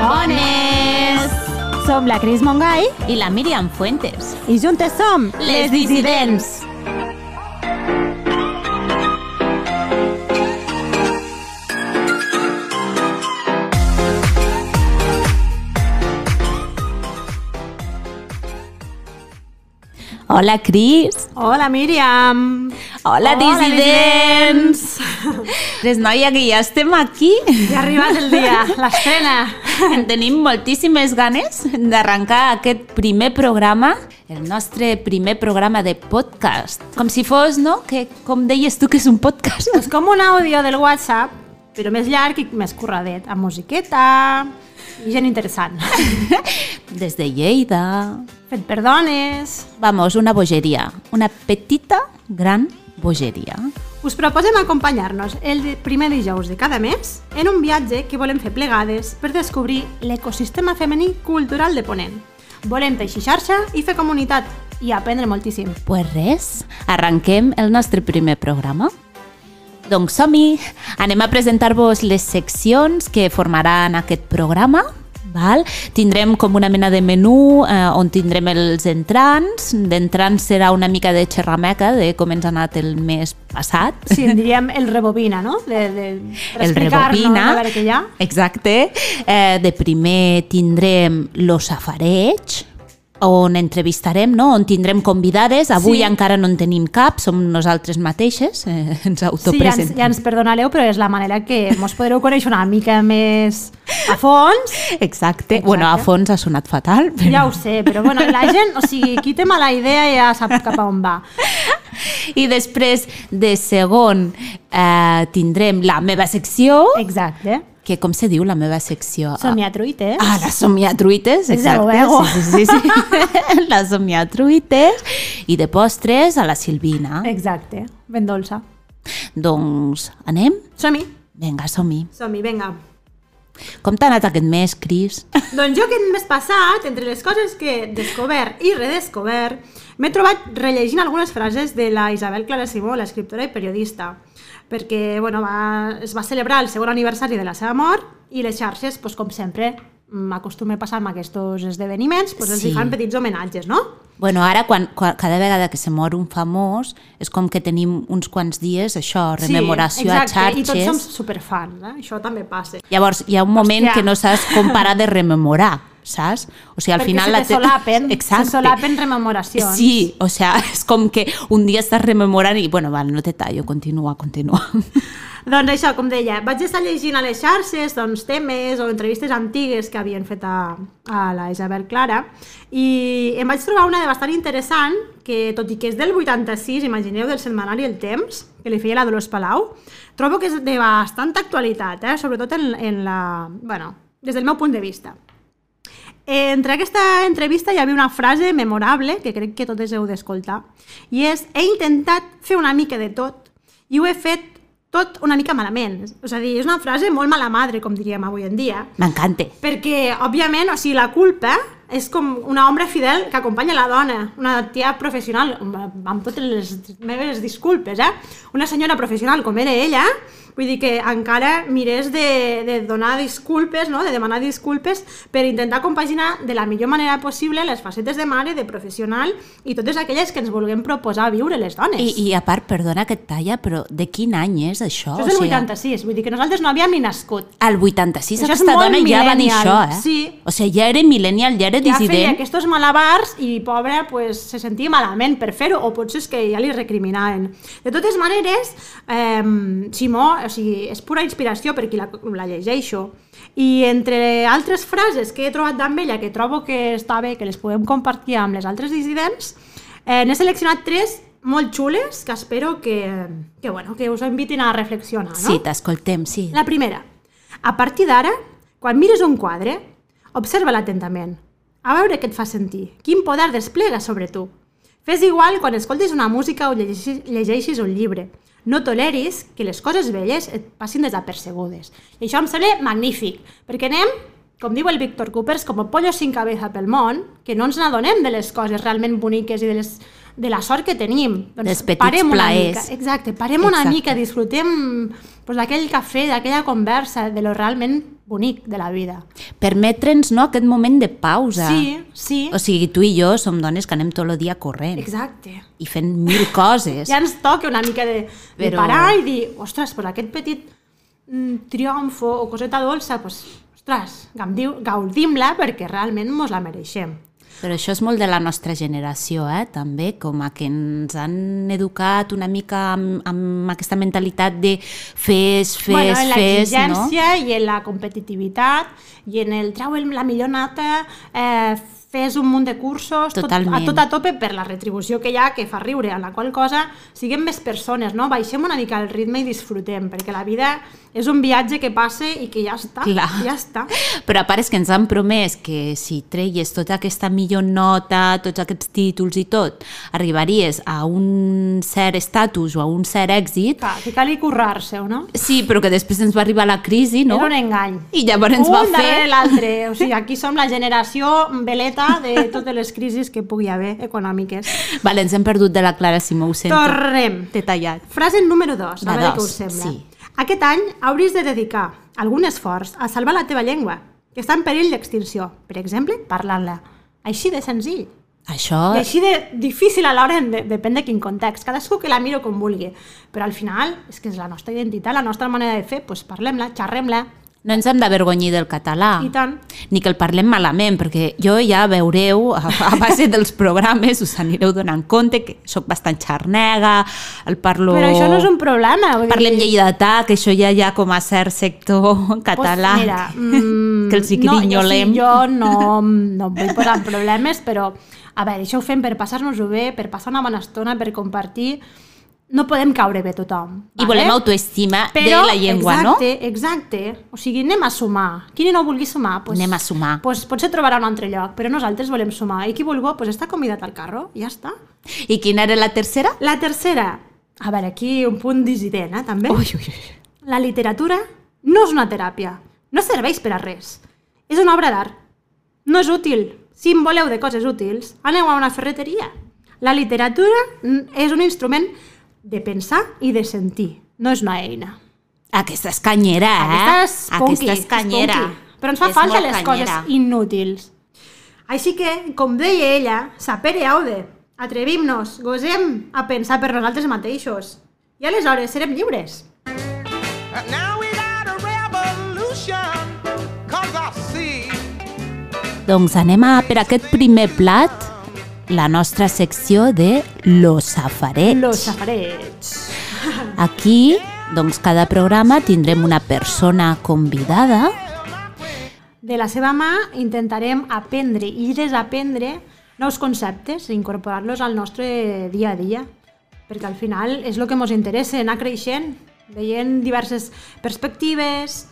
Bombones! Som la Cris Mongai I la Míriam Fuentes. i juntes som Les Dissidents. Hola, Cris. Hola, Míriam. Hola, Pues dissidents. Les noia que ja estem aquí. Ja ha arribat el dia, l'estrena. En tenim moltíssimes ganes d'arrencar aquest primer programa, el nostre primer programa de podcast. Com si fos, no?, que com deies tu que és un podcast. És com un àudio del WhatsApp, però més llarg i més curradet, amb musiqueta i gent interessant. Des de Lleida. Fet per dones. Vamos, una bogeria. Una petita, gran bogeria. Us proposem acompanyar-nos el di- primer dijous de cada mes en un viatge que volem fer plegades per descobrir l'ecosistema femení cultural de Ponent. Volem teixir xarxa i fer comunitat i aprendre moltíssim. Pues res, arrenquem el nostre primer programa. Doncs som-hi! Anem a presentar-vos les seccions que formaran aquest programa. Val? Tindrem com una mena de menú eh, on tindrem els entrants. D'entrants serà una mica de xerrameca de com ens ha anat el mes passat. Sí, en diríem el rebobina, no? De, de, per El explicar-nos, rebobina. A veure què hi ha. Exacte. Eh, de primer tindrem lo safareig, on entrevistarem, no? on tindrem convidades. Avui Sí. sí. encara no en tenim cap, som nosaltres mateixes, eh, ens Sí, ja ens, autopresentem. ja ens perdonareu, però és la manera que mos podreu conèixer una mica més a fons. Exacte. Exacte. Bueno, a fons ha sonat fatal, però... Ja ho sé, però bueno, la gent, o sigui, qui té mala idea ja sap cap a on va. I després, de segon, eh, tindrem la meva secció, Exacte. que com se diu la meva secció? Somiatruites. Ah, les somiatruites, És exacte. el vego. Sí, sí, sí, sí. les somiatruites. I de postres a la Silvina. Exacte, ben dolça. Doncs anem? Som-hi. Vinga, som-hi. Som-hi, vinga. Com t'ha anat aquest mes, Cris? Doncs jo aquest mes passat, entre les coses que he descobert i redescobert, m'he trobat rellegint algunes frases de la Isabel Clara Simó, l'escriptora i periodista, perquè bueno, va, es va celebrar el segon aniversari de la seva mort i les xarxes, doncs, com sempre, m'acostuma a passar amb aquests esdeveniments, doncs els Sí. hi fan petits homenatges, no? Bueno, ara quan, quan, cada vegada que se mor un famós és com que tenim uns quants dies, això, rememoració exacte, a i tots som xarxes. superfans, eh? això també passa. Llavors, hi ha un moment Hòstia. que no saps com parar de rememorar, saps? O sigui, al perquè final... se te te- solapen, Exacte. se solapen rememoracions. Sí, o sea, és com que un dia estàs rememorant i, bueno, val, no te tallo, continua, continua. Doncs això, com deia, vaig estar llegint a les xarxes doncs, temes o entrevistes antigues que havien fet a, a la Isabel Clara i em vaig trobar una de bastant interessant que, tot i que és del 86, imagineu, del setmanari El Temps, que li feia la Dolors Palau, trobo que és de bastanta actualitat, eh? sobretot en, en la... Bueno, des del meu punt de vista. Entre aquesta entrevista hi havia una frase memorable que crec que totes heu d'escoltar i és he intentat fer una mica de tot i ho he fet tot una mica malament. És a dir, és una frase molt mala madre, com diríem avui en dia, M'encanta. perquè, òbviament, o sigui, la culpa és com una ombra fidel que acompanya la dona, una tia professional, amb amb totes les meves disculpes, eh? Una senyora professional com era ella, vull dir que encara mirés de, de donar disculpes, no? de demanar disculpes per intentar compaginar de la millor manera possible les facetes de mare, de professional i totes aquelles que ens vulguem proposar viure les dones. I, I a part, perdona que et talla, però de quin any és això? Això és del 86, vull dir que nosaltres no havíem ni nascut. Al 86 Això és aquesta molt dona ja va dir millennial, això, eh? sí. O sigui, ja era millennial, ja era ja feia dissident. aquests malabars i pobra pues, se sentia malament per fer-ho o potser és que ja li recriminaven de totes maneres eh, Simó o sigui, és pura inspiració per qui la, la llegeixo i entre altres frases que he trobat d'amb ella que trobo que està bé que les podem compartir amb les altres dissidents eh, n'he seleccionat tres molt xules que espero que, que, bueno, que us invitin a reflexionar no? Sí, t'escoltem, sí. La primera. A partir d'ara, quan mires un quadre, observa-la atentament. A veure què et fa sentir, quin poder desplega sobre tu. Fes igual quan escoltis una música o llegeixis, llegeixis un llibre. No toleris que les coses velles et passin desapercebudes. I això em sembla magnífic, perquè anem, com diu el Víctor Coopers, com a pollo sin cabeza pel món, que no ens n'adonem de les coses realment boniques i de, les, de la sort que tenim. Doncs Dels petits parem una plaers. mica. Exacte, parem una Exacte. mica, disfrutem pues, d'aquell cafè, d'aquella conversa, de lo realment bonic de la vida. Permetre'ns no, aquest moment de pausa. Sí, sí, O sigui, tu i jo som dones que anem tot el dia corrent exacte. i fent mil coses. Ja ens toca una mica de, de Però- parar i dir, ostres, però aquest petit mm, triomf o o coseta dolça, pues, ostres, gaudiu- gaudim-la perquè realment mos la mereixem. Però això és molt de la nostra generació, eh? també, com a que ens han educat una mica amb, amb aquesta mentalitat de fes, fes, bueno, en fes, no? l'exigència i en la competitivitat i en el trau el- la millor nota, eh, fes un munt de cursos, Totalment. Tot, a tot a tope per la retribució que hi ha, que fa riure, a la qual cosa siguem més persones, no? Baixem una mica el ritme i disfrutem, perquè la vida és un viatge que passa i que ja està, Clar. ja està. Però a part és que ens han promès que si treies tota aquesta millor nota, tots aquests títols i tot, arribaries a un cert estatus o a un cert èxit. Clar, que cal hi currar-se-ho, no? Sí, però que després ens va arribar la crisi, no? Era un engany. I llavors ens un va darrere fer... l'altre. O sigui, aquí som la generació veleta de totes les crisis que pugui haver econòmiques. Vale, ens hem perdut de la Clara Simó, ho sento. Tornem. T'he tallat. Frase número 2, a La veure què dos, us sembla. sí. Aquest any hauries de dedicar algun esforç a salvar la teva llengua, que està en perill d'extinció. Per exemple, parlant-la. Així de senzill. Això I així de difícil a l'hora, de, depèn de quin context. Cadascú que la miro com vulgui. Però al final, és que és la nostra identitat, la nostra manera de fer, doncs parlem-la, xerrem-la, no ens hem d'avergonyir del català. i tant. ni que el parlem malament, perquè jo ja veureu, a, a base dels programes, us anireu donant compte que sóc bastant xarnega, el parlo... Però això no és un problema. Vull dir- Parlem lleidatà, que això ja hi ha com a cert sector català, Pues mira, mm, que els hi grinyolem. No, jo, sí, jo no, no em vull posar en problemes, però a veure, això ho fem per passar-nos-ho bé, per passar una bona estona, per compartir. No podem caure bé tothom. I volem autoestima de la llengua, exacte, no? Exacte, exacte. O sigui, anem a sumar. Qui no vulgui sumar, no? pues, Anem a sumar. pues, potser trobarà un altre lloc, però nosaltres volem sumar. I qui vulgui, pues, està convidat al carro, ja està. I quina era la tercera? La tercera, a veure, aquí un punt dissident, eh, també. Ui, ui, ui. La literatura no és una teràpia, no serveix per a res. És una obra d'art. No és útil. Si en voleu de coses útils, aneu a una ferreteria. La literatura mm, és un instrument de pensar i de sentir, no és una eina. Aquesta és canyera, eh? Aquesta és punky, Aquesta és canyera. punky. Però ens fa És falta molt les canyera. coses inútils. Així que, com deia ella, sapere aude, atrevim-nos, gosem a pensar per nosaltres mateixos. I aleshores serem lliures. And now we got a revolution, cause I see. Doncs anem a per aquest primer plat, la nostra secció de lo safareig. Los safarets. Aquí, doncs, cada programa tindrem una persona convidada. De la seva mà intentarem aprendre i desaprendre nous conceptes i incorporar-los al nostre dia a dia, perquè al final és el que ens interessa, anar creixent, veient diverses perspectives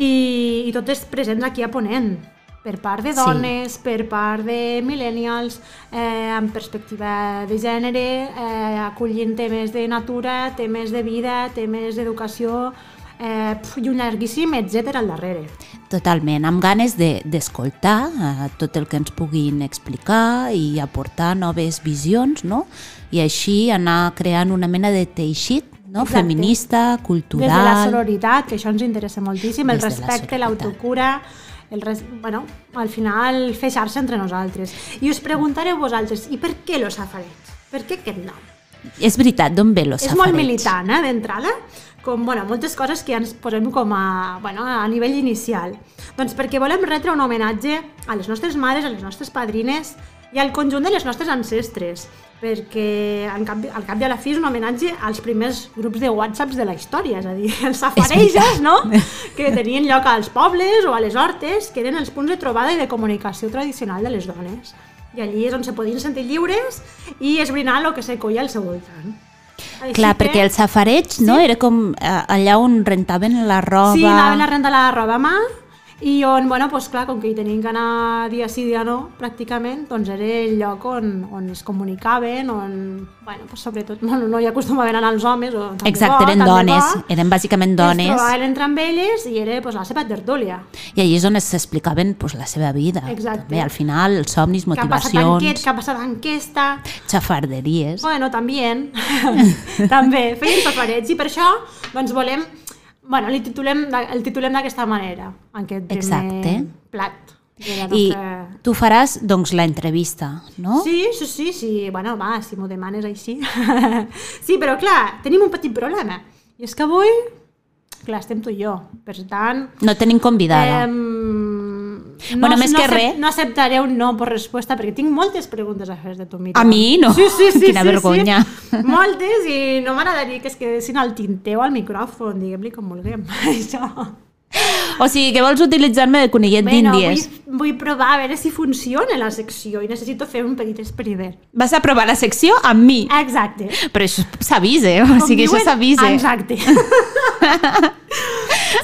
i, i totes presents aquí a Ponent, per part de Sí. dones, per part de millennials, eh, amb perspectiva de gènere, eh, acollint temes de natura, temes de vida, temes d'educació, eh, pf, i un llarguíssim etcètera al darrere. Totalment, amb ganes de- d'escoltar de, eh, tot el que ens puguin explicar i aportar noves visions, no? I així anar creant una mena de teixit no? Exacte. feminista, cultural... Des de la sororitat, que això ens interessa moltíssim, el Des de la respecte, sororitat. l'autocura, el res... bueno, al final fer xarxa entre nosaltres. I us preguntareu vosaltres, i per què los safarets? Per què aquest nom? És veritat, d'on ve lo És molt militant, eh, d'entrada, com bueno, moltes coses que ja ens posem com a, bueno, a nivell inicial. Doncs perquè volem retre un homenatge a les nostres mares, a les nostres padrines i al conjunt de les nostres ancestres, perquè al cap, al cap i a la fi és un homenatge als primers grups de whatsapps de la història, és a dir, els safareixes, no? que tenien lloc als pobles o a les hortes, que eren els punts de trobada i de comunicació tradicional de les dones. I allí és on se podien sentir lliures i esbrinar el que se coia al seu voltant. Així Clar, que- perquè el safareig no? era com eh, allà on rentaven la roba... Sí, anaven a rentar la roba a mà i on, bueno, doncs clar, com que hi tenien que anar dia sí, dia no, pràcticament, doncs era el lloc on, on es comunicaven, on, bueno, doncs sobretot, bueno, no hi acostumaven a anar els homes, o tant de Exacte, bo, eren tant de dones, bo, eren bàsicament Es dones. trobaven entre amb elles i era doncs, la seva tertúlia. I allí és on s'explicaven pues, la seva vida. Exacte. També, al final, els somnis, Que ha passat en aquest, motivacions, que ha passat en aquesta... xafarderies. Bueno, també. també. Feien safarets i per això doncs, volem Bueno, li titulem, de- el titulem d'aquesta manera, en aquest primer Exacte. plat. De la I nostra... tu faràs, doncs, la entrevista, no? Sí, sí, sí, sí, bueno, va, si m'ho demanes així. sí, però clar, tenim un petit problema. I és que avui, clar, estem tu i jo, per tant... No tenim convidada. Em, no, Bueno, més no que acep- res. No acceptaré un no per resposta perquè tinc moltes preguntes a fer de tu, Miriam. A mi no. Sí, sí, sí. Quina sí, vergonya. Sí. Moltes i no m'agradaria que es quedessin al tinteu al micròfon, diguem-li com vulguem. Això. O sigui, que vols utilitzar-me de conillet Bueno, d'índies. vull, vull provar a veure si funciona la secció i necessito fer un petit experiment. Vas a provar la secció amb mi. Exacte. Però això s'avisa, eh? O Com sigui, això diuen, s'avisa. Exacte.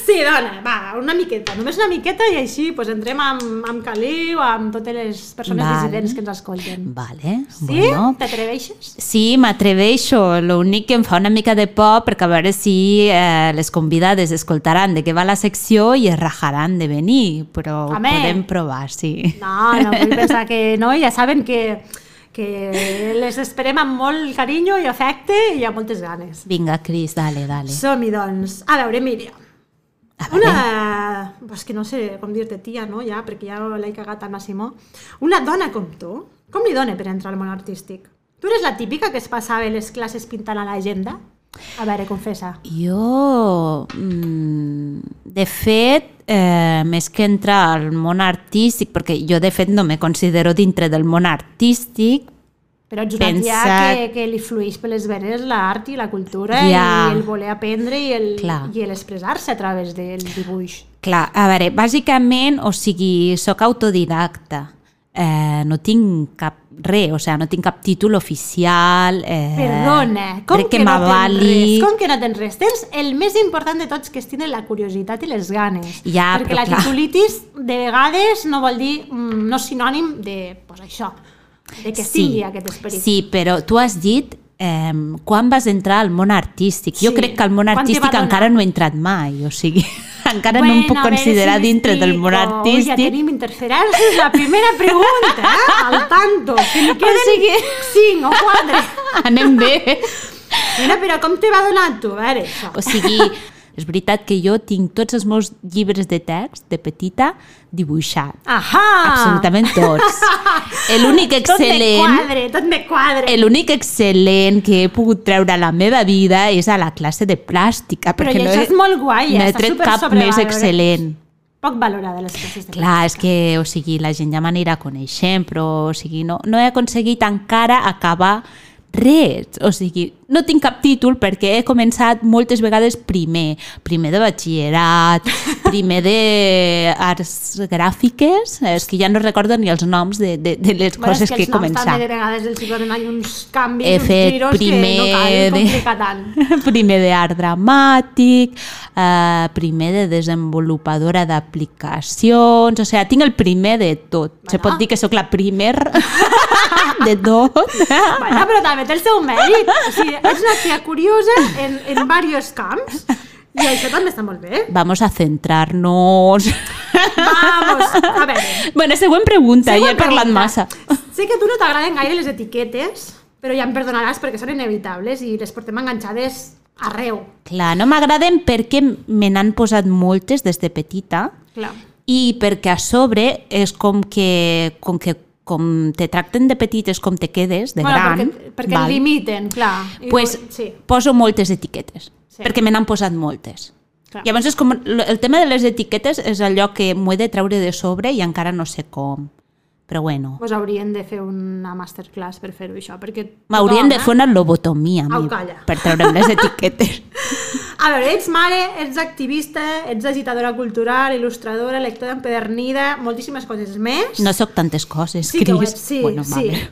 sí, dona, va, una miqueta, només una miqueta i així pues, entrem amb, amb Caliu, amb totes les persones Val. dissidents que ens escolten. Vale, Sí? bueno. T'atreveixes? Sí, m'atreveixo. L'únic que em fa una mica de por perquè a veure si eh, les convidades escoltaran de què va la secció i es rajaran de venir, però Home. ho podem provar, sí. No, no, vull pensar que no, ja saben que, que les esperem amb molt carinyo i afecte i amb moltes ganes. Vinga, Cris, dale, dale. Som-hi, doncs. A veure, Míriam. A veure. Ah, Una... És que no sé com dir-te tia, no? Ja, perquè ja l'he cagat a Massimo. Una dona com tu, com li dona per entrar al món artístic? Tu eres la típica que es passava les classes pintant a l'agenda? A veure, confessa. Jo, mm, de fet, eh, més que entrar al món artístic, perquè jo de fet no me considero dintre del món artístic, Però ets una tia Pensat. que, que li flueix per les venes l'art i la cultura Ja. i el voler aprendre i el, Clar. i el expressar-se a través del dibuix. Clar, a veure, bàsicament, o sigui, sóc autodidacta. Eh, no tinc cap res, o sigui, no tinc cap títol oficial. Eh, Perdona, com crec que, que, no tens m'avali- res? Com que no tens res? Tens el més important de tots, que és tindre la curiositat i les ganes. Ja, Perquè però la clar. titulitis, de vegades, no vol dir, mm, no és sinònim de, pues, això, de que sí. sigui aquest esperit. Sí, però tu has dit eh, quan vas entrar al món artístic. Jo Sí. crec que al món Quan t'hi va artístic donar? encara no he entrat mai, o sigui, encara bueno, no em puc a veure considerar si dintre del món m'explico. Ui, artístic. Ja tenim interferències, la primera pregunta, eh? al tanto, que li queden sigui- 5 o 4. Anem bé. Mira, però com te va donar a tu? A veure, això. O sigui, és veritat que jo tinc tots els meus llibres de text de petita dibuixats. Ahà! Absolutament tots. L'únic Tot me excel·lent, quadre, tot me quadre. l'únic excel·lent que he pogut treure a la meva vida és a la classe de plàstica, Però perquè i no això he, és molt guai, no he està tret super cap més sobrevalorat. excel·lent. Poc valorada les classes de Clar, és que, o sigui, la gent ja m'anirà coneixent, però, o sigui, no, no he aconseguit encara acabar res. O sigui, no tinc cap títol perquè he començat moltes vegades primer. Primer de batxillerat, primer de arts gràfiques, és que ja no recordo ni els noms de, de, de les Bueno, és coses que, els he noms començat. També de vegades els hi donen ahí uns canvis, He uns fet giros primer que no cal complicar tant. de, primer d'art dramàtic, eh, primer de desenvolupadora d'aplicacions, o sigui, tinc el primer de tot. Se pot dir que sóc la primer de tot. Bueno, però també té el seu mèrit. O sigui, ets una tia curiosa en, en diversos camps i això també està molt bé. Vamos a centrar-nos. Vamos, a veure. Bueno, següent pregunta, Següent ja he parlat pregunta. massa. Sé que a tu no t'agraden gaire les etiquetes, però ja em perdonaràs perquè són inevitables i les portem enganxades arreu. Clar, no m'agraden perquè me n'han posat moltes des de petita. Clar. i perquè a sobre és com que, com que com te tracten de petit és com te quedes de bueno, gran perquè, perquè val? limiten, clar. I pues, Sí, poso moltes etiquetes Sí. perquè me n'han posat moltes clar. llavors és com, el tema de les etiquetes és allò que m'ho he de treure de sobre i encara no sé com però bueno, Pues haurien de fer una masterclass per fer-ho això, perquè... m'haurien de tothom, eh? fer una lobotomia a Au, mi, calla. per treure'm les etiquetes eh? A veure, ets mare, ets activista, ets agitadora cultural, il·lustradora, lectora empedernida, moltíssimes coses més. no sóc tantes coses Sí que ho Cris. ets, sí, bueno, sí. vale.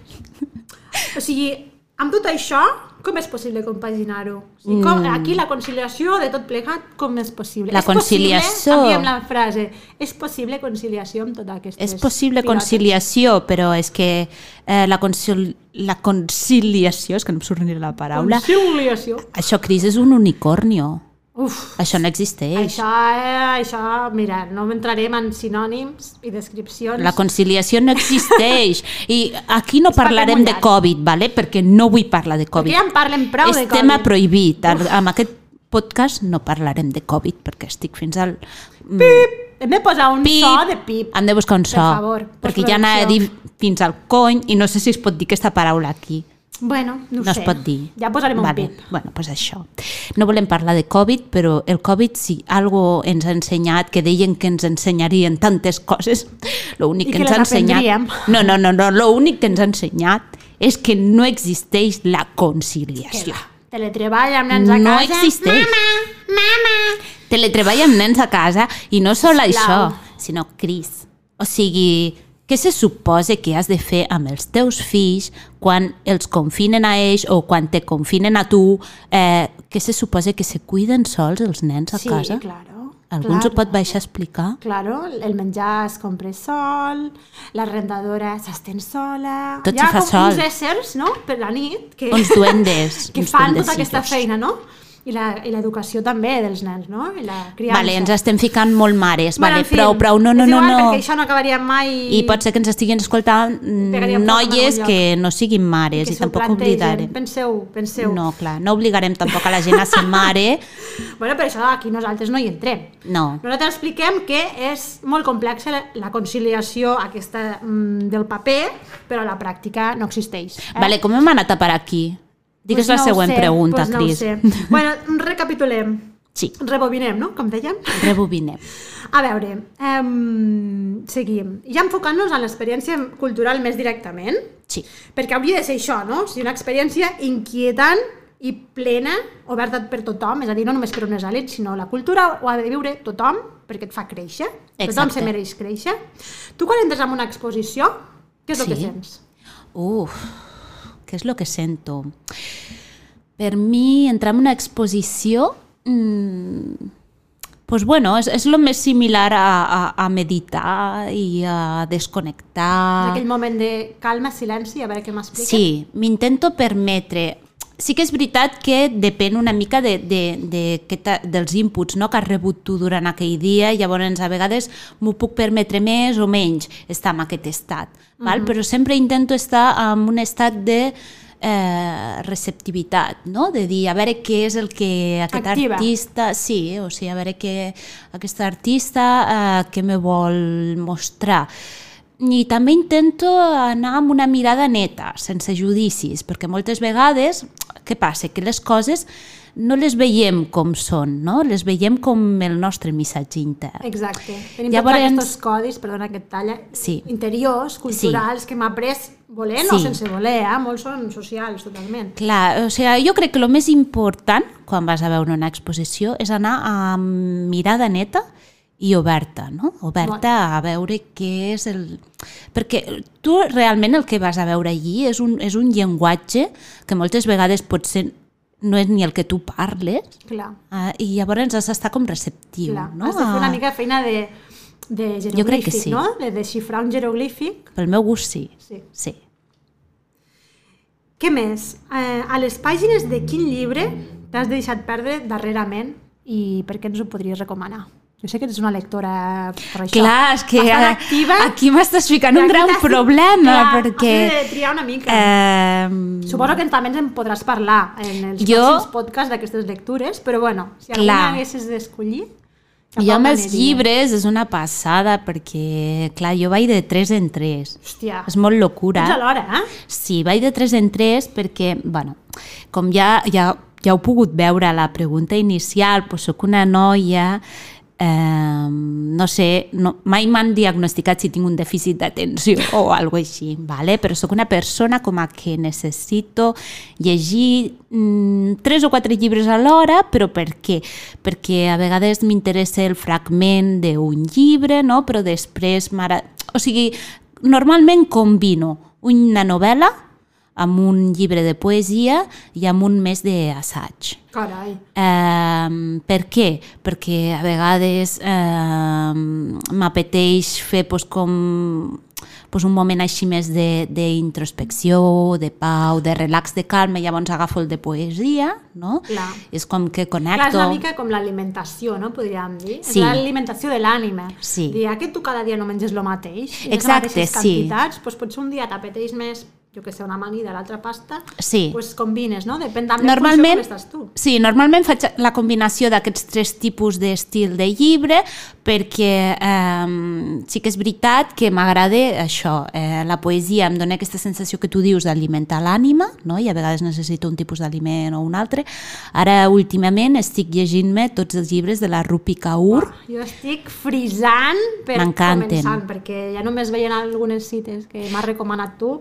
O sigui, amb tot això, com és possible compaginar-ho? O sigui, com, aquí la conciliació de tot plegat, com és possible? Mm. La és possible- conciliació. Canviem la frase. És possible conciliació amb tota aquesta... És possible conciliació, però és que eh, la, consol- la conciliació, és que no em surt ni la paraula, Conciliació. això, Cris, és un unicornio. Uf, Això no existeix. Això, eh, això, mira, no entrarem en sinònims i descripcions. La conciliació no existeix. I aquí no paper parlarem de mullat. Covid, vale? perquè no vull parlar de Perquè Covid. ja en parlen prou és de tema Covid. prohibit. Ar- Amb aquest podcast no parlarem de Covid, perquè estic fins al... mm, Hem de posar un Pip. so de pip. Hem de buscar un so. favor, perquè ja n'ha de dir fins al cony i no sé si es pot dir aquesta paraula aquí. Bueno, no, No, no sé. es pot dir. Ja posarem vale. un pip. Bueno, pues això. No volem parlar de Covid, però el Covid sí, algo ens ha ensenyat, que deien que ens ensenyarien tantes coses. L'únic I que, que ens ha les aprendríem. ensenyat... No, no, no, no. l'únic que ens ha ensenyat és que no existeix la Que conciliació. va. Teletreball amb nens a No casa. existeix. Mama, mama. Teletreball amb nens a casa i no sol Sisplau. això, sinó Cris. O sigui, què se suposa que has de fer amb els teus fills quan els confinen a ells o quan te confinen a tu? Eh, què se suposa que se cuiden sols els nens a sí, casa? claro. Algú ens ho claro. pot baixar a explicar? Claro, el menjar es compra sol, la rentadora s'estén sola... Tot Hi ha se fa com sol. uns éssers, no?, per la nit, que, Uns duendes. que uns fan tota duendecillos. aquesta feina, no? I la- i l'educació també dels nens, no? I la criança. Vale, ens estem ficant molt mares. Bueno, vale, en fi, prou, prou, no, no, és no, igual, no. Perquè això no acabaria mai... I pot ser que ens estiguin escoltant mm, Pegaríem foc en noies algun que no siguin mares i s'ho tampoc plantegen. oblidarem. Penseu, penseu. No, clar, no obligarem tampoc a la gent a ser mare. Bueno, però això aquí nosaltres no hi entrem. No. Nosaltres expliquem que és molt complexa la- la conciliació aquesta mm, del paper, però a la pràctica no existeix. Eh? Vale, com hem anat a parar aquí? Digues Pues la no ho següent sé, pregunta, pues no ho Cris. sé. Bueno, recapitulem. Sí, Rebobinem, no? Com dèiem. rebobinem. A veure, um, seguim. Ja enfocant-nos a l'experiència cultural més directament, Sí. perquè hauria de ser això, no? O sigui, una experiència inquietant i plena, oberta per tothom, és a dir, no només per unes elits, sinó la cultura ho ha de viure tothom, perquè et fa créixer. Tothom Exacte. se mereix créixer. Tu quan entres en una exposició, què és el Sí. que sents? Uf, què és lo que sento? Per mi, entrar en una exposició... Mmm, pues bueno, és, és lo més similar a, a, a meditar i a Ah. desconnectar. Aquell moment de calma, silenci, a veure què m'expliques. Sí, m'intento permetre. Sí que és veritat que depèn una mica de, de, de, que t'ha- dels inputs no? que has rebut tu durant aquell dia, llavors a vegades m'ho puc permetre més o menys estar en aquest estat, val? però sempre intento estar en un estat de eh, receptivitat, no? de dir a veure què és el que aquest Activa. artista artista, sí, eh? o sigui, a veure què aquesta artista eh, que me vol mostrar. I també intento anar amb una mirada neta, sense judicis, perquè moltes vegades, què passa? Que les coses no les veiem com són, no? Les veiem com el nostre missatge intern. Exacte. Tenim Llavors- Llavors... tots aquests codis, perdona que et talla, Sí. interiors, culturals, sí. que hem après volent sí. o Sí. sense voler, eh? molts són socials totalment. Clar, o sigui, jo crec que el més important quan vas a veure una exposició és anar amb mirada neta i oberta, no? Oberta a veure què és el... Perquè tu realment el que vas a veure allí és un, és un llenguatge que moltes vegades potser no és ni el que tu parles Clar. eh, i llavors has d'estar com receptiu, Clar. no? Ah, Has de fer A- una mica de feina de, de jeroglífic, Jo crec que sí. no? De desxifrar un jeroglífic. Pel meu gust, sí. Sí. Sí. Què més? Eh, a les pàgines de quin llibre t'has deixat perdre darrerament i per què ens ho podries recomanar? Jo sé que eres una lectora per això. Clar, és que Bastant eh, activa, aquí m'estàs ficant però un aquí gran t'has- problema clar, perquè... has de triar una mica. Eh, Suposo que també ens en podràs parlar en els Jo- jo... pròxims podcasts d'aquestes lectures, però bueno, si alguna Clar. haguessis d'escollir... cap Jo amb on els aniries? llibres és una passada perquè, clar, jo vaig de 3 en 3. Hòstia, És molt locura. tots alhora, eh? Sí, vaig de 3 en 3 perquè, bueno, com ja, ja, ja heu pogut veure a la pregunta inicial, doncs soc una noia, eh, no sé, no, mai m'han diagnosticat si tinc un dèficit d'atenció o alguna així, vale? però sóc una persona com a que necessito llegir mm, tres o quatre llibres alhora, però per què? Perquè a vegades m'interessa el fragment d'un llibre, no? però després... Mara... O sigui, normalment combino una novel·la amb un llibre de poesia i amb un més d'assaig. Carai. Um, per què? Perquè a vegades um, m'apeteix fer pues, com pues, un moment així més de- d'introspecció, de, de pau, de relax, de calma, i llavors agafo el de poesia, no? Clar. És com que Clar, és connecto... una mica com l'alimentació, no? Podríem dir. Sí. Sí. És l'alimentació de l'ànima. "Ah, Sí. Dir, aquest tu cada dia no menges el mateix. I Exacte, les mateixes sí. quantitats, doncs potser un dia t'apeteix més jo que sé, una amanida, l'altra pasta, Sí. pues combines, no? Depèn també Normalment, com estàs tu. sí, normalment faig la combinació d'aquests tres tipus d'estil de llibre perquè eh, sí que és veritat que m'agrada això, eh, la poesia em dona aquesta sensació que tu dius d'alimentar l'ànima no? i a vegades necessito un tipus d'aliment o un altre. Ara últimament estic llegint-me tots els llibres de la Rupi Kaur, Jo estic frisant per M'encanten. començar, perquè ja només veient algunes cites que m'has recomanat tu,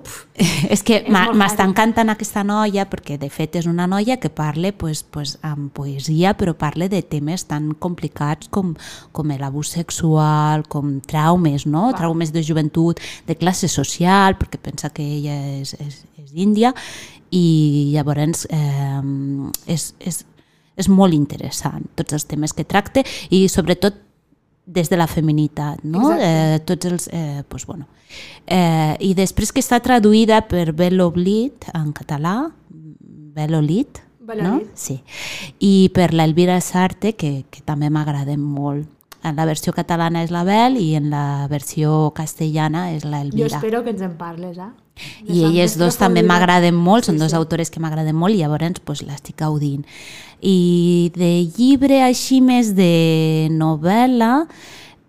pf, és que És m'ha- molt m'està fàcil. encantant aquesta noia perquè de fet és una noia que parla pues, pues, amb poesia però parla de temes tan complicats com, com l'abús sexual, com traumes, no? traumes de joventut, de classe social, perquè pensa que ella és, és, és índia i llavors eh, és, és, és molt interessant tots els temes que tracte i sobretot des de la feminitat, no? Eh, tots els... Eh, doncs, bueno. eh, I després que està traduïda per Bel Oblit en català, Bel Olit, Bel no? Olit. Sí. I per l'Elvira Sarte, que, que també m'agrada molt. En la versió catalana és la Bel i en la versió castellana és la jo Elvira. espero que ens en parles, eh? De I Sant elles dos Cristòfol també i de- m'agraden molt, són Sí, dos sí. autores que m'agraden molt i llavors pues, l'estic gaudint. I de llibre així més de novel·la,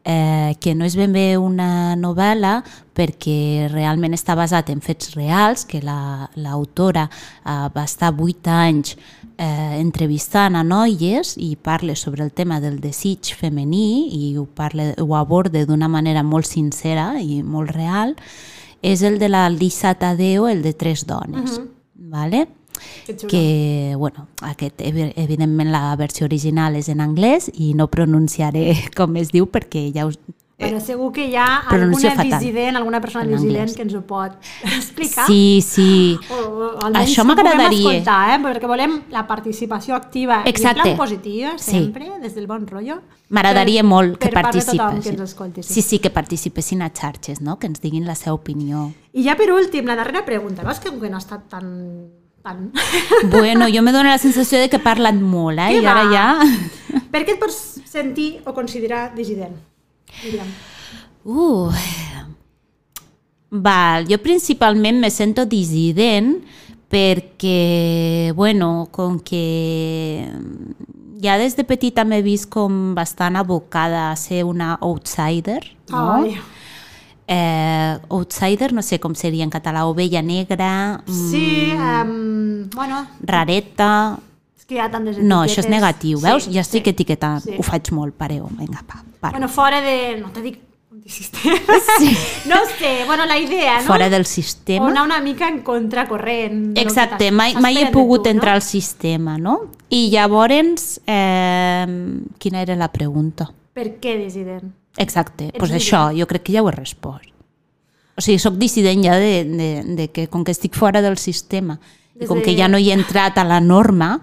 eh, que no és ben bé una novel·la perquè realment està basat en fets reals, que la- l'autora la, eh, va estar vuit anys eh, entrevistant a noies i parla sobre el tema del desig femení i ho, parla, ho aborda d'una manera molt sincera i molt real, és el de la Lisa Tadeo, el de Tres Dones. Uh Mhm. -huh. vale? Que xulo. que, bueno, aquest, evi- evidentment la versió original és en anglès i no pronunciaré com es diu perquè ja us... Però segur que hi ha pronuncio alguna Eh, fatal. dissident, alguna persona En dissident anglès. que ens ho pot explicar. Sí, sí. O, o, almenys Això que ho puguem m'agradaria. escoltar, eh? perquè volem la participació activa Exacte. i en plan positiva, Sí. sempre, des del bon rotllo. M'agradaria Per- molt que per part de participessin. tothom que ens escolti, sí. sí, sí, que participessin a xarxes, no? que ens diguin la seva opinió. I ja per últim, la darrera pregunta. Veus que com que no ha estat tan... tan... Bueno, jo me dóna la sensació de que parlen molt, eh? Què I ara va? ja... per què et pots sentir o considerar dissident? Miriam? Uh. Val, jo principalment me sento dissident perquè, bueno, com que ja des de petita m'he vist com bastant abocada a ser una outsider, no? Ai, Eh, outsider, no sé com seria en català, ovella negra, mm, sí, um, bueno, rareta... és que hi ha tantes etiquetes. No, això és negatiu, veus? Ja estic etiquetant, Sí. ho faig molt, pareu, vinga, pa, para. Bueno, fora de... No te dic... on dissisteix. sí. No sé, bueno, la idea, no? Fora del O sistema. anar una mica en contracorrent. del que Exacte, t'es- mai, mai he s'espera de pogut tu, no? entrar al sistema, no? I llavors, eh, quina era la pregunta? Per què dissident? Exacte, doncs pues dissident. això, jo crec que ja ho he respost. O sigui, sóc dissident ja de, de, de que com que estic fora del sistema i Des com de- que ja no hi he entrat a la norma,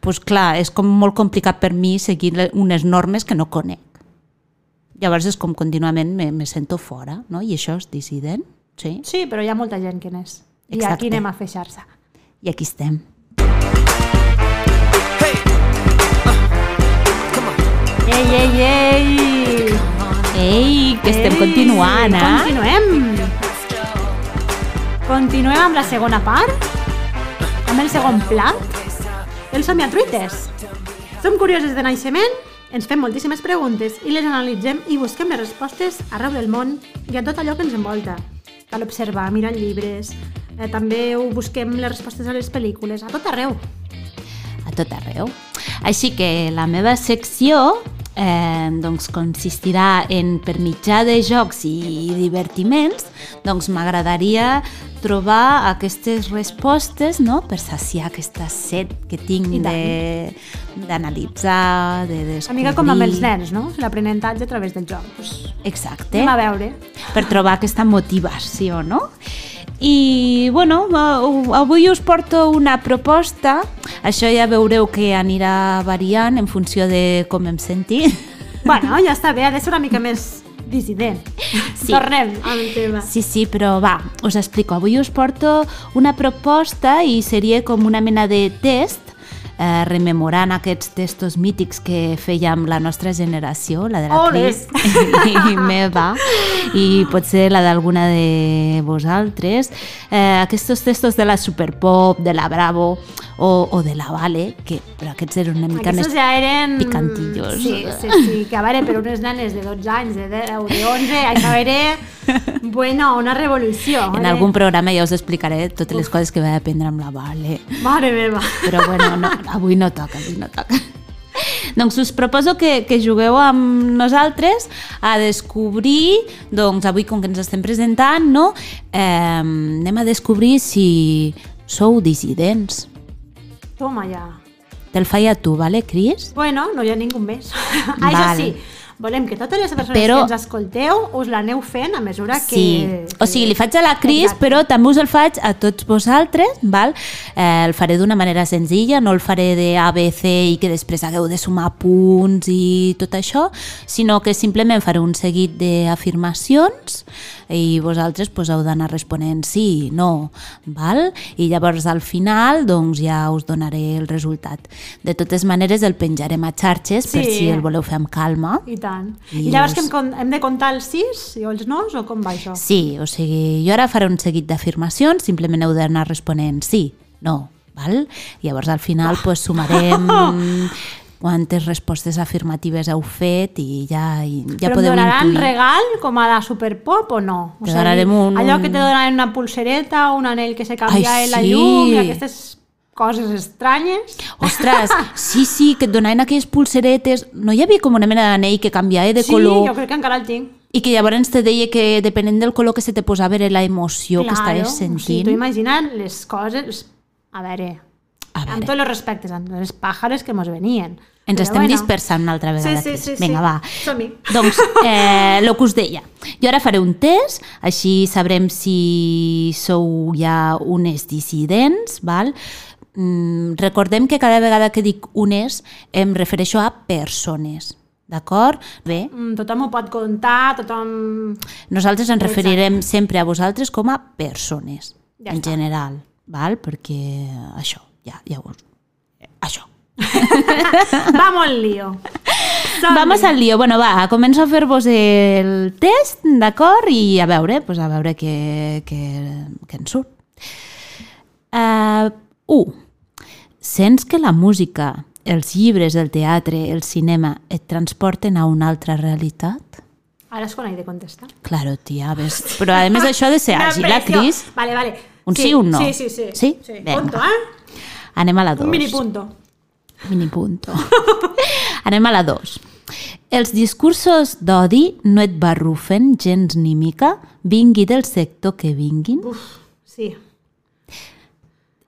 doncs clar, és com molt complicat per mi seguir le- unes normes que no conec. Llavors és com contínuament me, me sento fora, no? I això és dissident, sí? Sí, però hi ha molta gent que n'és. I Exacte. aquí anem a fer xarxa. I aquí estem. Hey, uh, come on. Ei, ei, ei! Ei, que estem Ei, continuant, eh? Continuem! Continuem amb la segona part, amb el segon plat, els somiatruites. Som curioses de naixement, ens fem moltíssimes preguntes i les analitzem i busquem les respostes arreu del món i a tot allò que ens envolta. Cal observar, mirar llibres, eh, també ho busquem les respostes a les pel·lícules, a tot arreu. a tot arreu. Així que la meva secció eh, doncs consistirà en, per mitjà de jocs i divertiments, doncs m'agradaria trobar aquestes respostes no? per saciar aquesta set que tinc I tant. de- d'analitzar, de, És descobrir... Una mica com amb els nens, no? L'aprenentatge a través del joc. Pues, Exacte anem a veure. per trobar aquesta motivació, no? I, bueno, eh, avui us porto una proposta. Això ja veureu que anirà variant en funció de com em senti. Bueno, ja està bé, ha de ser una mica més dissident. Sí. Tornem al tema. Sí, sí, però va, us explico. Avui us porto una proposta i seria com una mena de test eh, rememorant aquests textos mítics que fèiem la nostra generació, la de la Ole! Cris i, i meva, i potser la d'alguna de vosaltres. Eh, aquests textos de la Superpop, de la Bravo o, o de la Vale, que però aquests eren una mica Aquestos més... ja eren... picantillos. Sí, sí, sí, que a veure, per unes nenes de 12 anys, de 10, o de 11, això era, bueno, una revolució. En eh? algun programa ja us explicaré totes les coses que vaig aprendre amb la Vale. Mare meva. però bueno, no, avui no toca, avui no toca. Doncs us proposo que, que jugueu amb nosaltres a descobrir, doncs avui com que ens estem presentant, no? Eh, anem a descobrir si sou dissidents. Toma ja. Te'l feia tu, vale, Cris? Bueno, no hi ha ningú més. Ah, això Val. sí, volem que totes les persones Però- que ens escolteu us l'aneu fent a mesura que... Sí. O sigui, li faig a la Cris, Exacte. però també us el faig a tots vosaltres, val? Eh, el faré d'una manera senzilla, no el faré de A, B, C i que després hagueu de sumar punts i tot això, sinó que simplement faré un seguit d'afirmacions i vosaltres pues, heu d'anar responent sí, no, val? I llavors al final doncs, ja us donaré el resultat. De totes maneres el penjarem a xarxes per Sí. si el voleu fer amb calma. I tant. I I llavors els- que hem, con- hem de comptar els sis i els nos o com va això? Sí, o sigui, jo ara faré un seguit d'afirmacions, simplement heu d'anar responent sí, no, val? Llavors al final pues, sumarem quantes respostes afirmatives heu fet i ja, i ja Però em podeu donaran intuir. regal com a la Superpop o no? O Te donarem un- Allò que te donaran una pulsereta, un anell que se canvia Ai, en la sí. llum i aquestes coses estranyes. Ostres, sí, sí, que et donaven aquelles pulseretes. No hi havia com una mena d'anell que canviava de sí, color jo crec que encara el tinc. i que llavors te deia que depenent del color que se te posava era la emoció que Claro, estaves O sigui, sentint. tu imagina't les coses... A veure, A amb veure, tots els respectes, amb les pàjares que mos venien. ens Però estem bueno. dispersant una altra Sí, vegada. sí, Cris. sí. Vinga, sí. va. Som-hi. Doncs eh, el que us deia. Jo ara faré un test, així sabrem si sou ja unes dissidents, val? Mm, recordem que cada vegada que dic unes em refereixo a persones, d'acord? Bé, Mm, Tothom ho pot contar, tothom... nosaltres ens referirem sempre a vosaltres com a persones, Ja en està. general, val? Perquè això, ja, ja us... Això. Vamos al lío. Som-hi. Vamos al lío. Bueno, va, començo a fer-vos el test, d'acord? I a veure, pues a veure què, què, què en surt. Uh, 1. Sents que la música, els llibres, el teatre, el cinema et transporten a una altra realitat? Ara és quan he de contestar. Claro, tia, ves. Però a més això ha de ser Ah, Una àgil, la pressió. Cris. Vale, vale. Un sí, un no. Sí, sí, sí. Sí? Venga. Punto, eh? Anem a la 2. Un mini punto. Minipunto. Anem a la 2. Els discursos d'odi no et barrufen gens ni mica, vingui del sector que vinguin. Uf, sí.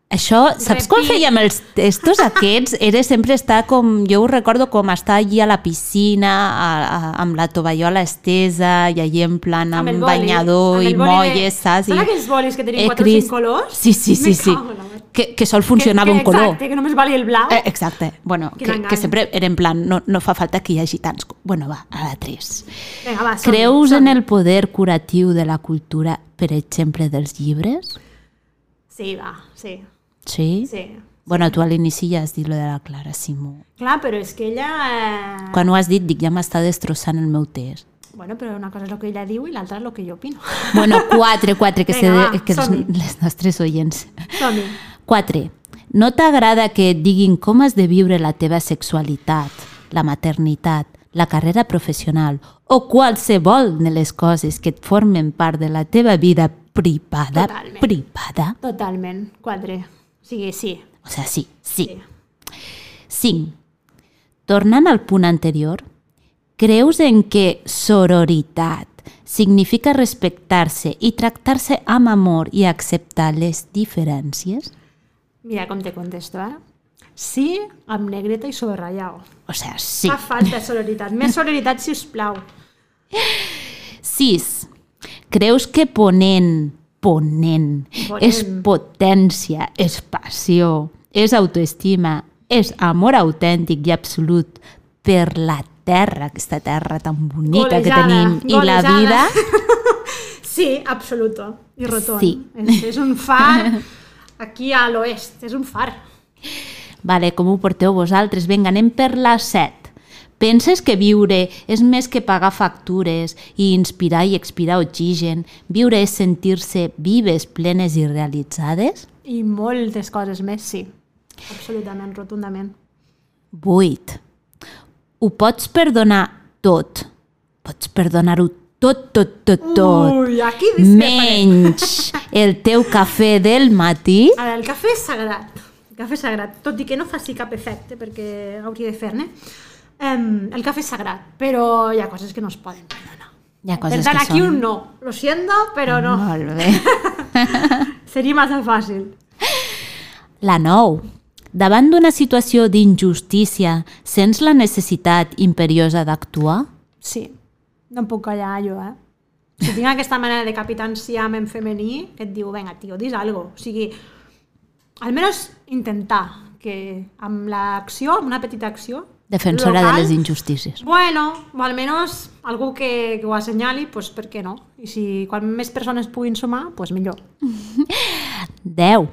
Això, saps quan Repit. fèiem els textos aquests? Era sempre estar com, jo ho recordo com estar allí a la piscina, a, a, amb la tovallola estesa i allí en plan amb, el boli, banyador amb el i boli de- molles, saps? I- eh, Són aquells bolis que tenen quatre o Cris, cinc colors? Sí, sí, Me sí, sí. cago en la mar. Que, que sol funcionava que, un color. Exacte, que només vali el blau. Eh, exacte. Bueno, Quin que, engany. que sempre era en plan, no, no fa falta que hi hagi tants... co- Bueno, va, a la 3. Vinga, va, som, Creus en el poder curatiu de la cultura, per exemple, dels llibres? Sí, va, sí. Sí? sí. Bueno, tu a l'inici ja has dit lo de la Clara Simó. Clar, però és que ella... Eh... Quan ho has dit, dic, ja m'està destrossant el meu test. Bueno, però una cosa és el que ella diu i l'altra és el que jo opino. Bueno, 4, 4, que, Vinga, Venga, va, que els, som-hi. les nostres oients. Som-hi. 4. No t'agrada que et diguin com has de viure la teva sexualitat, la maternitat, la carrera professional o qualsevol de les coses que et formen part de la teva vida privada. Totalment. Privada. Totalment. Quatre. O sigui, sí. O sigui, sí, sí. Sí. 5. Tornant al punt anterior, creus en que sororitat significa respectar-se i tractar-se amb amor i acceptar les diferències? Mira com te contesto, eh? Sí, amb negreta i subratllau. O sigui, sí. Fa falta sororitat. Més sororitat, si us plau. 6. Creus que ponent, ponent, Ponent. és potència, és passió, és autoestima, és amor autèntic i absolut per la terra, aquesta terra tan bonica que Golejada, tenim, i la golejada. vida... Sí, absoluto. I rotund. Sí. És, és un far aquí a l'oest. És un far. Vale, com ho porteu vosaltres? Vinga, anem per la 7. Penses que viure és més que pagar factures i inspirar i expirar oxigen? Viure és sentir-se vives, plenes i realitzades? I moltes coses més, sí. Absolutament, rotundament. 8. Ho pots perdonar tot. Pots perdonar-ho tot, tot, tot, tot. Ui, aquí discreparé. menys el teu cafè del matí. A veure, el cafè és sagrat. El cafè és sagrat, tot i que no faci cap efecte, perquè hauria de fer-ne. Um, el cafè és sagrat, però hi ha coses que no es poden perdonar. Hi ha Per coses tant, que aquí són... un no. Lo siento, però no. Molt bé. Seria massa fàcil. La 9. Davant d'una situació d'injustícia, sents la necessitat imperiosa d'actuar? Sí. No em puc callar, jo, eh? Si tinc aquesta manera de capitanciam en femení, que et diu, venga, tio, dis algo. O sigui, almenys intentar que amb l'acció, amb una petita acció, Defensora local, de les injustícies. Bueno, o almenys algú que, que ho assenyali, doncs per què no? I si quan més persones puguin sumar, doncs millor. 10.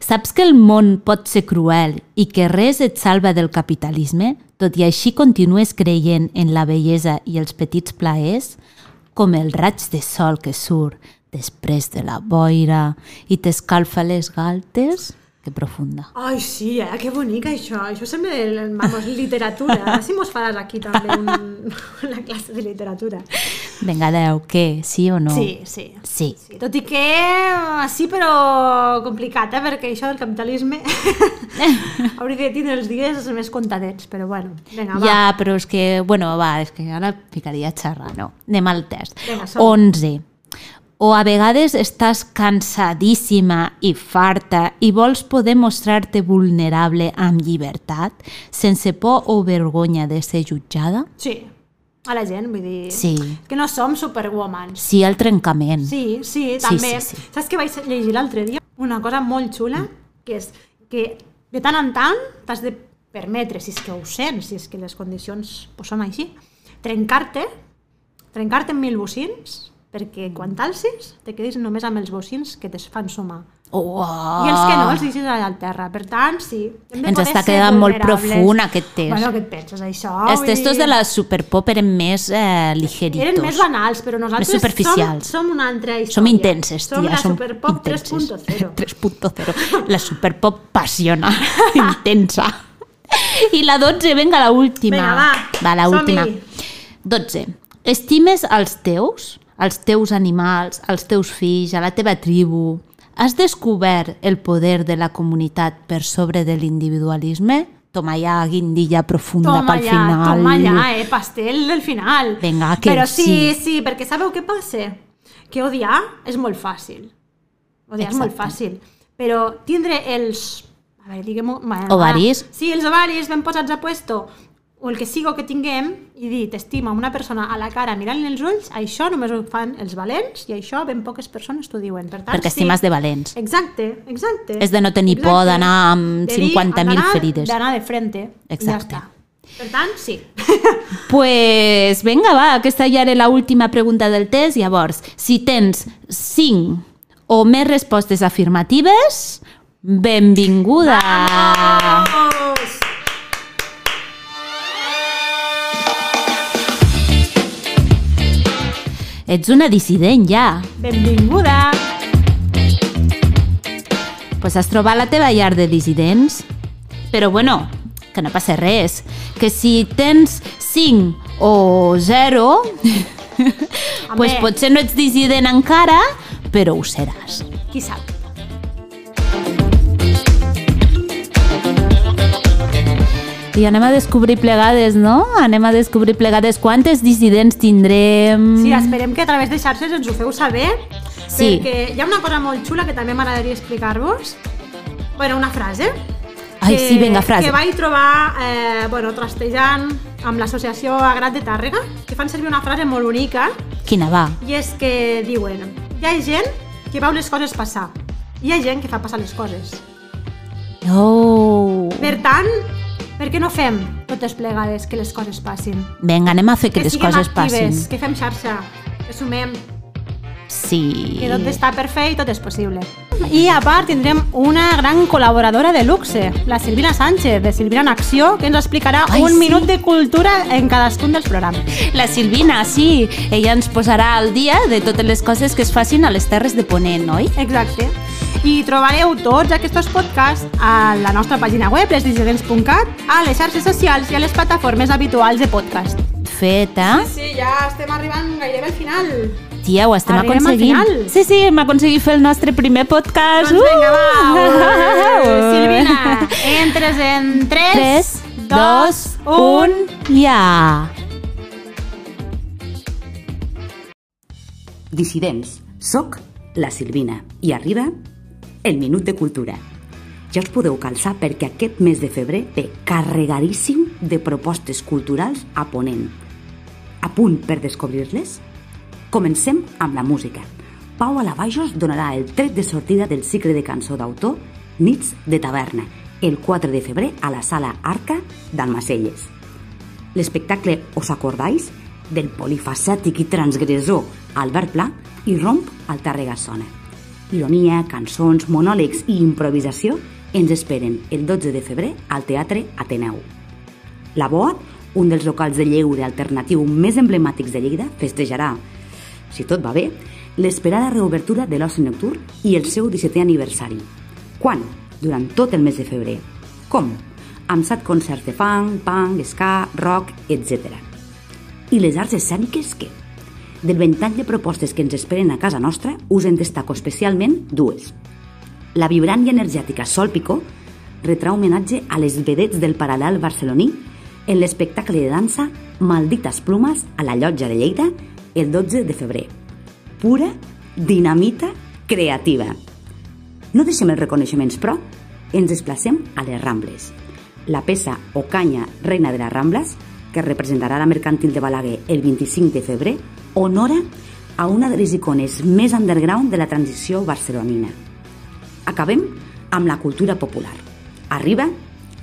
Saps que el món pot ser cruel i que res et salva del capitalisme? Tot i així continues creient en la bellesa i els petits plaers? Com el raig de sol que surt després de la boira i t'escalfa les galtes? Que profunda. Ai, sí, eh? que bonic això. Això sembla de, vamos, literatura. Ara si mos faràs aquí també un, una classe de literatura. Vinga, 10. Què? Sí o no? Sí, sí. Sí. Sí, tot i que eh, sí, però complicat, eh? perquè això del capitalisme hauria de tindre els dies més contadets, però bueno, vinga, Ah, va. Ja, però és que, bueno, va, és que ara picaria a xerrar, no. Anem al test. Vinga, som. 11. O a vegades estàs cansadíssima i farta i vols poder mostrar-te vulnerable amb llibertat, sense por o vergonya de ser jutjada? Sí, a la gent, vull dir... Sí. Que no som superwomans. Sí al trencament. Sí, sí, Sí, també. sí, sí. Saps què vaig llegir l'altre dia? Una cosa molt xula, que és que de tant en tant t'has de permetre, si és que ho sents, si és que les condicions pues, són així, trencar-te, trencar-te en mil bocins, perquè quan t'alcis te quedis només amb els bocins que te fan sumar. Oh, I els que no els deixis allà al terra. Per tant, sí. hem de Ens poder està ser quedant molt vulnerables. profund aquest test. Bueno, què et penses, això? Els Vull testos dir- de la superpop eren més eh, ligeritos. eren més banals, però nosaltres Més superficials. Som, som una altra història. Som intenses, tia. Som la som Superpop intenses. 3.0. 3.0. La superpop passiona, intensa. I la 12, venga, la última. Vinga, va. Va, la Som-hi. última. 12. Estimes els teus, els teus animals, els teus fills, a la teva tribu. Has descobert el poder de la comunitat per sobre de l'individualisme? Toma ja, guindilla profunda Toma pel ja, final. toma ja, eh, pastel del final. Vinga, que Però sí, sí. sí, perquè sabeu què passa? Que odiar és molt fàcil. Odiar és molt Exacte. fàcil. Però tindre els... A veure, diguem-ho... bueno, Ovaris. va. Sí, els ovaris ben posats a puesto o el que sigo que tinguem i dir t'estima una persona a la cara mirant-li els ulls, això només ho fan els valents i això ben poques persones t'ho diuen. Per tant, Perquè sí. estimes de valents. Exacte, exacte. És de no tenir exacte. por d'anar amb De dir, 50.000 d'anar- ferides. D'anar de frente. Exacte. I ja està. Per tant, sí. Pues vinga, va, aquesta ja era l'última pregunta del test. Llavors, si tens 5 o més respostes afirmatives, benvinguda! Ah. Vamos! Ets una dissident, ja. Benvinguda! Pues has trobat la teva llar de dissidents. Però bueno, que no passa res. Que si tens 5 o 0, pues Home. potser no ets dissident encara, però ho seràs. Qui sap? I anem a descobrir plegades, no? Anem a descobrir plegades quantes dissidents tindrem... Sí, esperem que a través de xarxes ens ho feu saber. Mm. Sí. Perquè hi ha una cosa molt xula que també m'agradaria explicar-vos. Bueno, una frase. Ai, sí, vinga, frase. Que vaig trobar, eh, bueno, trastejant amb l'associació Agrat de Tàrrega, que fan servir una frase molt bonica, Quina va? i és que diuen hi ha gent que veu les coses passar, hi ha gent que fa passar les coses. Oh. Per tant, per què no fem totes plegades que les coses passin? Vinga, anem a fer que, les siguem coses passin. actives, que fem xarxa, que sumem, Sí. que tot està per fer i tot és possible. i a part tindrem una gran col·laboradora de luxe, la Silvina Sánchez, de Silvina en Acció, que ens explicarà Ai, Ai, un sí. sí. minut de cultura en cadascun dels programes. La Silvina, sí, ella ens posarà al dia de totes les coses que es facin a les Terres de Ponent, oi? Exacte. I trobareu tots aquests podcasts a la nostra pàgina web, lesdissidents.cat, a les xarxes socials i a les plataformes habituals de podcast. Fet, eh? Sí, ja estem arribant gairebé al final. Tia, ho estem Arribem al aconseguint. final. Sí, sí, hem aconseguit fer el nostre primer podcast. Doncs vinga, va. Uh! Uh! Silvina, entres en 3, 3, 2, 1, ja! Dissidents, soc la Silvina i arriba el Minut de Cultura. Ja us podeu calçar perquè aquest mes de febrer ve carregadíssim de propostes culturals a Ponent. A punt per descobrir-les? Comencem amb la música. Pau Alabajos donarà el tret de sortida del cicle de cançó d'autor Nits de Taverna, el 4 de febrer a la Sala Arca d'Almacelles l'espectacle Os acordais? del polifacètic i transgressor Albert Pla i romp al Tàrrega Sona. Ironia, cançons, monòlegs i improvisació ens esperen el 12 de febrer al Teatre Ateneu. La Boa, un dels locals de lleure alternatiu més emblemàtics de Lleida, festejarà, si tot va bé, l'esperada reobertura de l'oci nocturn i el seu 17è aniversari. Quan? Durant tot el mes de febrer. Com? Amb set concerts de funk, punk, ska, rock, etc. I les arts escèniques, què? Del ventall de propostes que ens esperen a casa nostra, us en destaco especialment dues la vibrant i energètica Sol Picó retrà homenatge a les vedets del paral·lel barceloní en l'espectacle de dansa Maldites Plumes a la Llotja de Lleida el 12 de febrer. Pura, dinamita, creativa. No deixem els reconeixements, però ens desplacem a les Rambles. La peça Ocanya, reina de les Rambles, que representarà la mercantil de Balaguer el 25 de febrer, honora a una de les icones més underground de la transició barcelonina, acabem amb la cultura popular. Arriba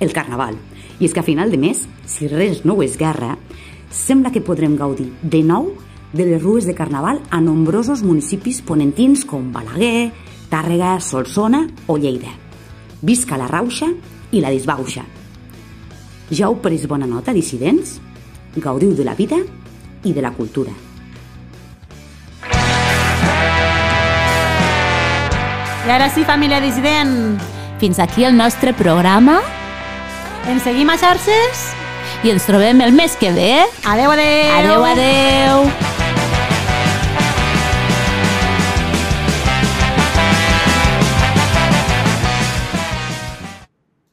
el carnaval. I és que a final de mes, si res no ho esgarra, sembla que podrem gaudir de nou de les rues de carnaval a nombrosos municipis ponentins com Balaguer, Tàrrega, Solsona o Lleida. Visca la rauxa i la disbauxa. Ja heu pres bona nota, dissidents? Gaudiu de la vida i de la cultura. I ara sí, família dissident, Fins aquí el nostre programa ens seguim a xarxes? i ens trobem el mes que ve. Adeu, adeu! Adeu, adeu! adeu.